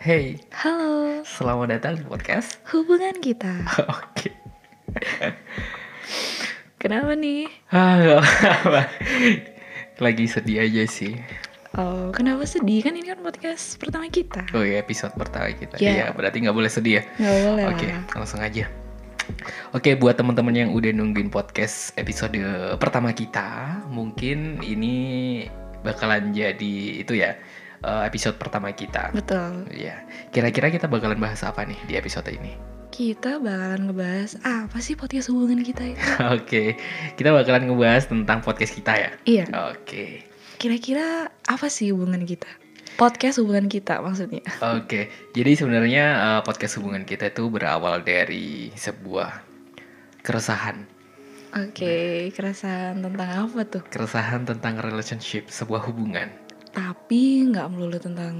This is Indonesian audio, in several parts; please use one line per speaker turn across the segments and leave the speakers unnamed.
Hey,
Halo,
selamat datang di podcast.
hubungan kita.
Oke.
Kenapa nih?
Ah, nggak apa-apa. Lagi sedih aja sih.
Oh, kenapa sedih? Kan ini kan podcast pertama kita.
Oh iya, episode pertama kita.
Ya.
Iya, berarti nggak boleh sedih ya.
Nggak boleh
Oke,
lah.
langsung aja. Oke, buat teman-teman yang udah nungguin podcast episode pertama kita, mungkin ini bakalan jadi itu ya eh, episode pertama kita.
Betul.
Ya, kira-kira kita bakalan bahas apa nih di episode ini?
Kita bakalan ngebahas apa sih podcast hubungan kita itu?
Oke, kita bakalan ngebahas tentang podcast kita ya.
iya.
Oke,
Kira-kira apa sih hubungan kita? Podcast hubungan kita maksudnya.
oke. Jadi sebenarnya eh, podcast hubungan kita itu berawal dari sebuah keresahan,
Oke, keresahan tentang apa tuh?
keresahan tentang relationship, sebuah hubungan.
Tapi nggak melulu tentang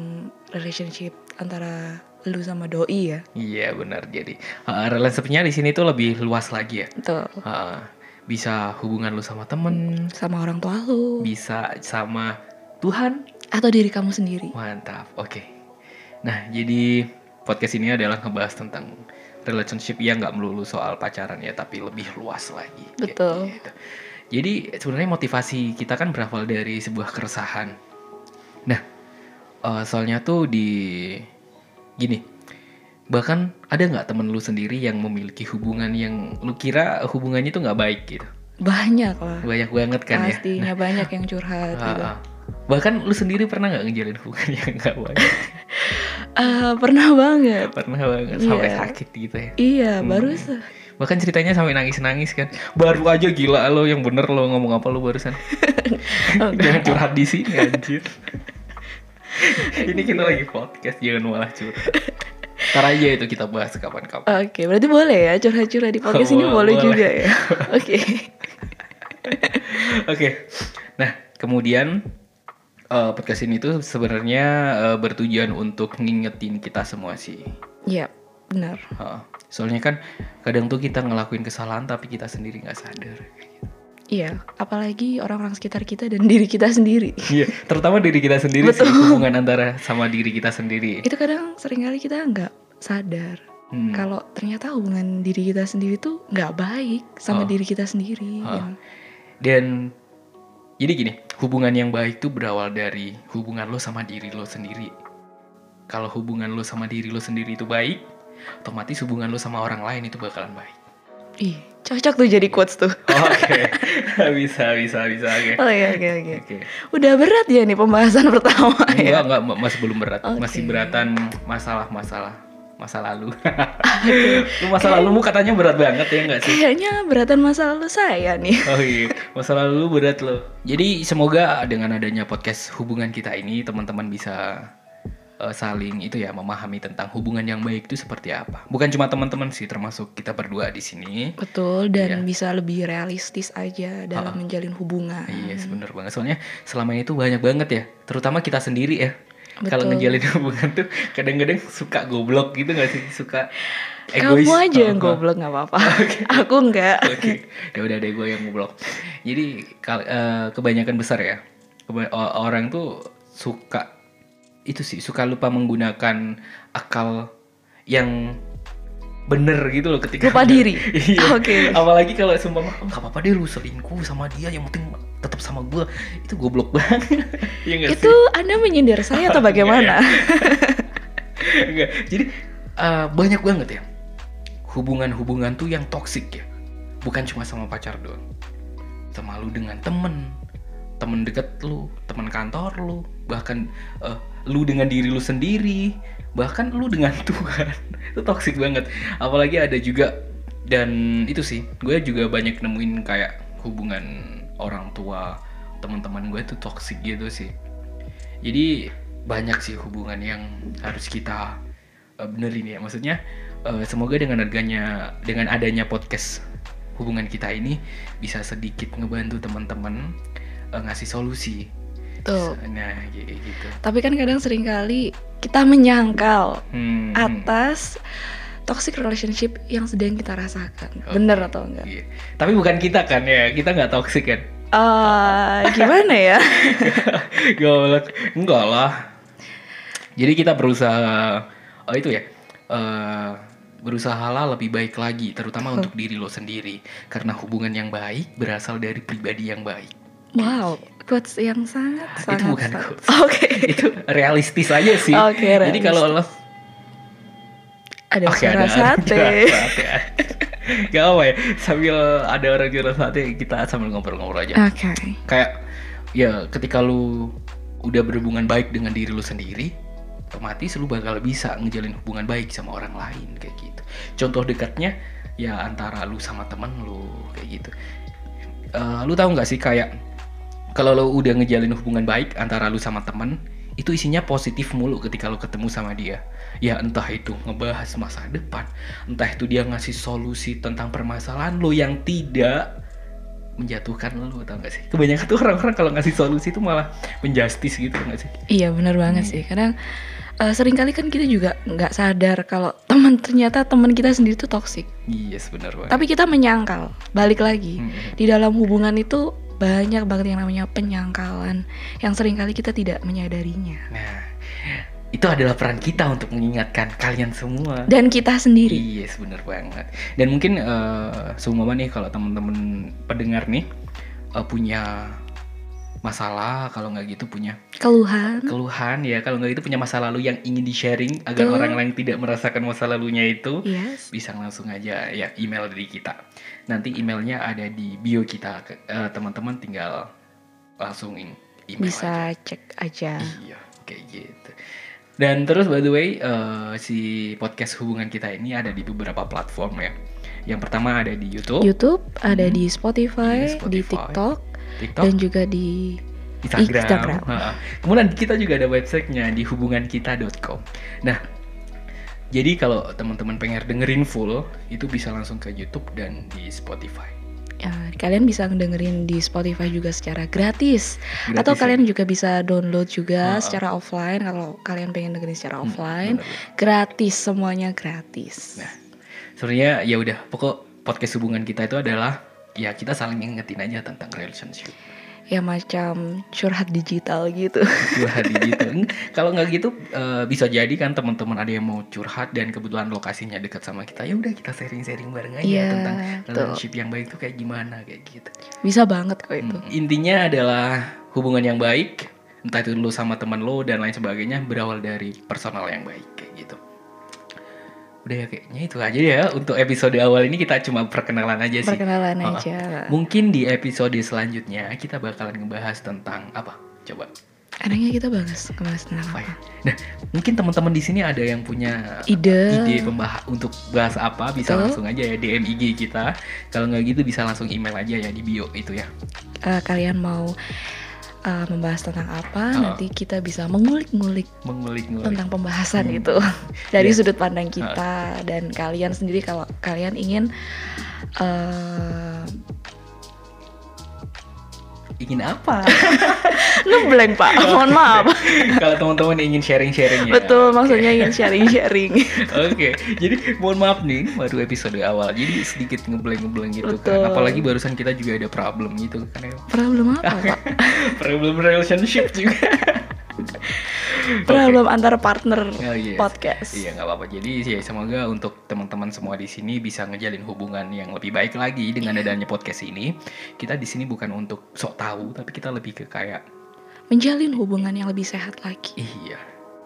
relationship antara lu sama doi ya.
Iya benar. Jadi eh, relationshipnya di sini tuh lebih luas lagi ya.
Betul.
Eh, bisa hubungan lu sama temen,
Sama orang tua lu
bisa sama Tuhan.
atau diri kamu sendiri.
Mantap. Oke. Nah jadi podcast ini adalah ngebahas tentang relationship yang nggak melulu soal pacaran ya, tapi lebih luas lagi. Kayak
Betul.
gitu. Jadi sebenarnya motivasi kita kan berawal dari sebuah keresahan. Nah, eh, soalnya tuh di gini, bahkan ada nggak temen lu sendiri yang memiliki hubungan yang lu kira hubungannya tuh nggak baik gitu,
Banyak lah.
banyak banget kan ya.
Pastinya banyak yang curhat
Ah,
gitu.
ah. Bahkan lu sendiri pernah nggak ngejalin hubungan yang nggak baik? ah.
Eh, pernah banget.
pernah banget sampai
Iya.
sakit gitu ya.
Iya,
Hmm.
baru se-
Bahkan ceritanya sampai nangis-nangis kan. Baru aja gila lo yang bener lo ngomong apa lo barusan.
Oh,
jangan curhat di sini anjir. Ini kita lagi podcast jangan malah curhat. Ntar aja itu kita bahas kapan-kapan.
Oke, berarti boleh ya curhat-curhat di podcast
Oh,
ini boleh,
boleh.
juga ya. Oke.
Oke. Nah, kemudian eh, podcast ini tuh sebenarnya eh, bertujuan untuk ngingetin kita semua sih.
Iya, benar.
Heeh. soalnya kan kadang tuh kita ngelakuin kesalahan tapi kita sendiri nggak sadar.
Iya, apalagi orang-orang sekitar kita dan diri kita sendiri.
Iya, terutama diri kita sendiri sih,
Betul.
hubungan antara sama diri kita sendiri.
Itu kadang seringkali kita nggak sadar
Hmm.
kalau ternyata hubungan diri kita sendiri tuh nggak baik sama
Oh.
diri kita sendiri.
Oh.
ya.
Dan jadi gini, hubungan yang baik tuh berawal dari hubungan lo sama diri lo sendiri. Kalau hubungan lo sama diri lo sendiri itu baik, otomatis hubungan lo sama orang lain itu bakalan baik.
Ih, cocok tuh jadi quotes tuh.
Oke, bisa bisa bisa oke.
Oh iya, oke oke.
Oke.
Udah berat ya nih pembahasan pertama ya.
Enggak, enggak, ma- masih belum berat.
Oke.
Masih beratan masalah-masalah masa lalu. lu masa lalumu katanya berat banget ya enggak sih?
Kayaknya beratan masa lalu saya nih.
Oh iya, masa lalu berat loh. Jadi semoga dengan adanya podcast hubungan kita ini teman-teman bisa eh, saling itu ya memahami tentang hubungan yang baik itu seperti apa. Bukan cuma teman-teman sih, termasuk kita berdua di sini.
Betul
Iya.
dan bisa lebih realistis aja dalam menjalin hubungan.
Iya, yes, bener banget. Soalnya selama ini tuh banyak banget ya, terutama kita sendiri ya. Kalau
Betul.
ngejalin hubungan tuh kadang-kadang suka goblok gitu gak sih? Suka egois.
Kamu aja yang
Oh, oh.
goblok nggak apa-apa. Aku nggak.
Oke, ya udah deh gue yang goblok. Jadi kal- eh, kebanyakan besar ya keba- o- orang tuh suka itu sih suka lupa menggunakan akal yang bener gitu loh ketika
Lupa diri.
Iya.
Oke.
Apalagi kalau sumpah mah nggak apa-apa deh lu selingkuh sama dia yang penting tetap sama gue itu goblok banget. Iya nggak sih? Iya,
Itu Anda menyindir saya atau bagaimana?
Enggak. Jadi eh, banyak banget ya hubungan-hubungan tuh yang toksik ya. Bukan cuma sama pacar doang. Sama lu dengan temen, temen deket lu, temen kantor lu, bahkan eh, lu dengan diri lu sendiri, bahkan lu dengan Tuhan. itu toksik banget. Apalagi ada juga dan itu sih, gue juga banyak nemuin kayak hubungan orang tua teman-teman gue tuh toksik gitu sih. Jadi banyak sih hubungan yang harus kita eh, benerin ya. Maksudnya eh, semoga dengan adanya dengan adanya podcast hubungan kita ini bisa sedikit ngebantu teman-teman eh, ngasih solusi.
Tuh.
Nah, kayak gitu.
Tapi kan kadang seringkali kita menyangkal
Hmm, hmm.
atas toxic relationship yang sedang kita rasakan. Bener atau enggak?
Iya. Tapi bukan kita kan ya, kita nggak toksik kan?
Eh, gimana ya?
Goblok. Enggak lah. Jadi kita berusaha eh, itu ya. eh berusahalah lebih baik lagi terutama untuk diri lo sendiri karena hubungan yang baik berasal dari pribadi yang baik.
Wow, quotes yang sangat sangat.
itu bukan
sangat-
quotes.
Oke.
itu realistis aja sih.
Oke,
Jadi kalau lo
Ada
Oke,
suara
ada
sate.
juara sate. Gak apa ya, sambil ada orang juara sate kita sambil ngobrol-ngobrol aja.
Oke.
Kayak ya ketika lu udah berhubungan baik dengan diri lu sendiri, otomatis lu bakal bisa ngejalin hubungan baik sama orang lain kayak gitu. Contoh dekatnya ya antara lu sama temen lu kayak gitu. Eh, lu tahu nggak sih kayak kalau lu udah ngejalin hubungan baik antara lu sama temen itu isinya positif mulu ketika lu ketemu sama dia ya entah itu ngebahas masa depan entah itu dia ngasih solusi tentang permasalahan lu yang tidak menjatuhkan lu tau gak sih kebanyakan tuh orang-orang kalau ngasih solusi itu malah menjustis gitu tau gak sih
Iya benar banget sih. Kadang eh, seringkali kan kita juga nggak sadar kalau teman ternyata teman kita sendiri tuh toksik.
yes bener banget Hmm.
Tapi kita menyangkal. Balik lagi
Mm-mm.
di dalam hubungan itu banyak banget yang namanya penyangkalan yang seringkali kita tidak menyadarinya
nah itu adalah peran kita untuk mengingatkan kalian semua
dan kita sendiri.
Yes, bener banget. Dan mungkin eh seumpama nih kalau teman-teman pendengar nih eh, punya masalah, kalau nggak gitu punya
Keluhan.
keluhan ya, kalau nggak gitu punya masa lalu yang ingin di-sharing agar
Betul.
orang lain tidak merasakan masa lalunya itu,
Yes.
bisa langsung aja ya email dari kita. Nanti emailnya ada di bio kita. Ke- eh, teman-teman tinggal langsung in- email aja.
Bisa cek aja.
Iya, kayak gitu. Dan terus by the way, eh, si podcast hubungan kita ini ada di beberapa platform ya. Yang pertama ada di YouTube,
YouTube, ada
Oh. Hmm.
di Spotify,
Di Spotify,
di TikTok, dan
TikTok,
juga di
Instagram.
Instagram.
Ha. Kemudian kita juga ada websitenya di hubungankita.com. Nah, jadi kalau teman-teman pengen dengerin full, itu bisa langsung ke YouTube dan di Spotify.
ya, kalian bisa dengerin di Spotify juga secara gratis,
Gratis
atau
ya?
kalian juga bisa download juga
Ha-ha.
secara offline kalau kalian pengen dengerin secara
Hmm,
offline.
bener, bener.
gratis semuanya gratis.
Nah, Sebenarnya ya udah, pokok podcast hubungan kita itu adalah ya kita saling ngingetin aja tentang relationship.
Ya macam curhat digital gitu.
curhat gitu. Eng- Kalau nggak gitu eh, bisa jadi kan teman-teman ada yang mau curhat dan kebetulan lokasinya dekat sama kita. Ya udah kita sharing-sharing bareng aja
Iya,
tentang
betul.
relationship yang baik itu kayak gimana kayak gitu.
Bisa banget kok itu.
Mm. Intinya adalah hubungan yang baik, entah itu lu sama teman lo dan lain sebagainya berawal dari personal yang baik kayak gitu. Udah ya kayaknya itu aja ya untuk episode awal ini kita cuma perkenalan aja iya sih. Ah,
Perkenalan
Ha-ha.
aja.
Mungkin di episode selanjutnya kita bakalan ngebahas tentang apa? Coba
Anaknya kita bahas bahas tentang
apa ya?
apa?
Nah, mungkin teman-teman di sini ada yang punya eh,
Ide.
ide pembahas untuk bahas apa bisa
Betul.
langsung aja ya DM IG kita. Kalau nggak gitu bisa langsung email aja ya di bio itu ya.
Eh, kalian mau eh, membahas tentang apa?
Ha-ha.
Nanti kita bisa mengulik-ngulik
Mengulik-ngulik.
tentang pembahasan
Hmm.
itu dari
Iya.
sudut pandang kita dan kalian sendiri kalau kalian ingin eh
Ingin apa?
ngeblank pak mohon maaf
Kalau teman-teman ingin sharing-sharing ya.
betul maksudnya ingin sharing sharing
Oke, jadi mohon maaf nih baru episode awal. Jadi sedikit ngebleng-ngebleng gitu
Betul.
kan. Apalagi barusan kita juga ada problem gitu kan. ya.
problem apa pak
Problem relationship juga. Oke.
problem antar partner
Oh, yes.
podcast
Iya nggak apa-apa. Jadi ya semoga untuk teman-teman semua di sini bisa ngejalin hubungan yang lebih baik lagi dengan
Iya.
adanya podcast ini. Kita di sini bukan untuk sok tahu, tapi kita lebih ke kayak
menjalin hubungan yang lebih sehat lagi
iya.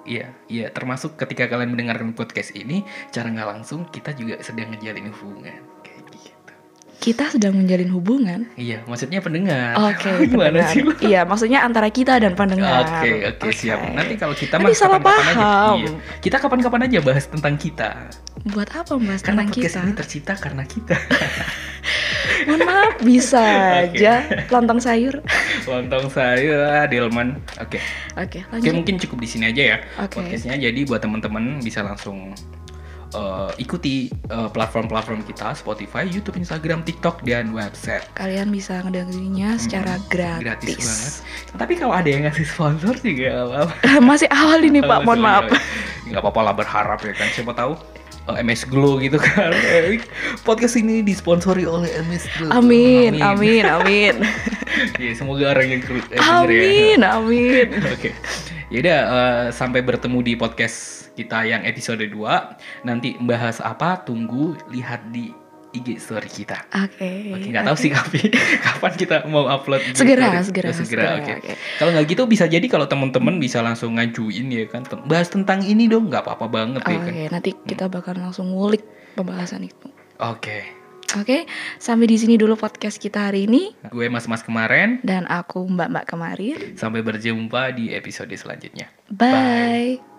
Iya, iya. Termasuk ketika kalian mendengarkan podcast ini, cara nggak langsung kita juga sedang ngejalin hubungan kayak gitu.
kita sedang menjalin hubungan
Iya, maksudnya pendengar.
oke
gimana
pendengar.
sih? lu?
iya maksudnya antara kita dan pendengar
Oke, oke, siap. Nanti kalau kita
Nanti salah
kapan-kapan
paham.
Aja. Iya. Kita kapan-kapan aja bahas tentang kita.
buat apa membahas
Karena
tentang
podcast
kita
ini tercipta karena kita.
mohon maaf bisa
Oke.
aja lontong sayur
Lontong saya Delman. Oke.
Oke,
Oke,
lanjut.
mungkin cukup di sini aja ya
Oke.
podcastnya. Jadi buat teman-teman bisa langsung eh, ikuti eh, platform-platform kita Spotify, YouTube, Instagram, TikTok dan website. Hmm,
Kalian bisa ngedengerinnya secara Hmm, gratis.
Gratis banget. Tapi kalau ada yang ngasih sponsor juga nggak apa-apa.
Masih awal ini, Pak. Mohon maaf.
Enggak apa-apa lah berharap ya kan. Siapa tahu eh, MS Glow gitu kan. Eh, Podcast ini disponsori oleh MS Glow. Iya,
Amin, amin, amin.
Ya, semoga orang yang kru- eh, denger ya.
Amin, amin.
Oke. Ya Yaudah, eh, sampai bertemu di podcast kita yang episode 2. Nanti membahas apa, tunggu lihat di IG story kita.
Oke.
Oke, nggak tahu sih kapan, kapan kita mau upload. IG
Segera,
story.
segera,
Oh, segera. Oke.
oke.
Kalau nggak gitu bisa jadi kalau teman-teman bisa langsung ngajuin ya kan, tem- bahas tentang ini dong, nggak apa-apa banget ya
Oke,
kan.
nanti kita bakal langsung ngulik pembahasan itu.
Oke,
Oke, sampai di sini dulu podcast kita hari ini
gue mas-mas kemarin.
dan aku Mbak Mbak kemarin.
Sampai berjumpa di episode selanjutnya.
Bye.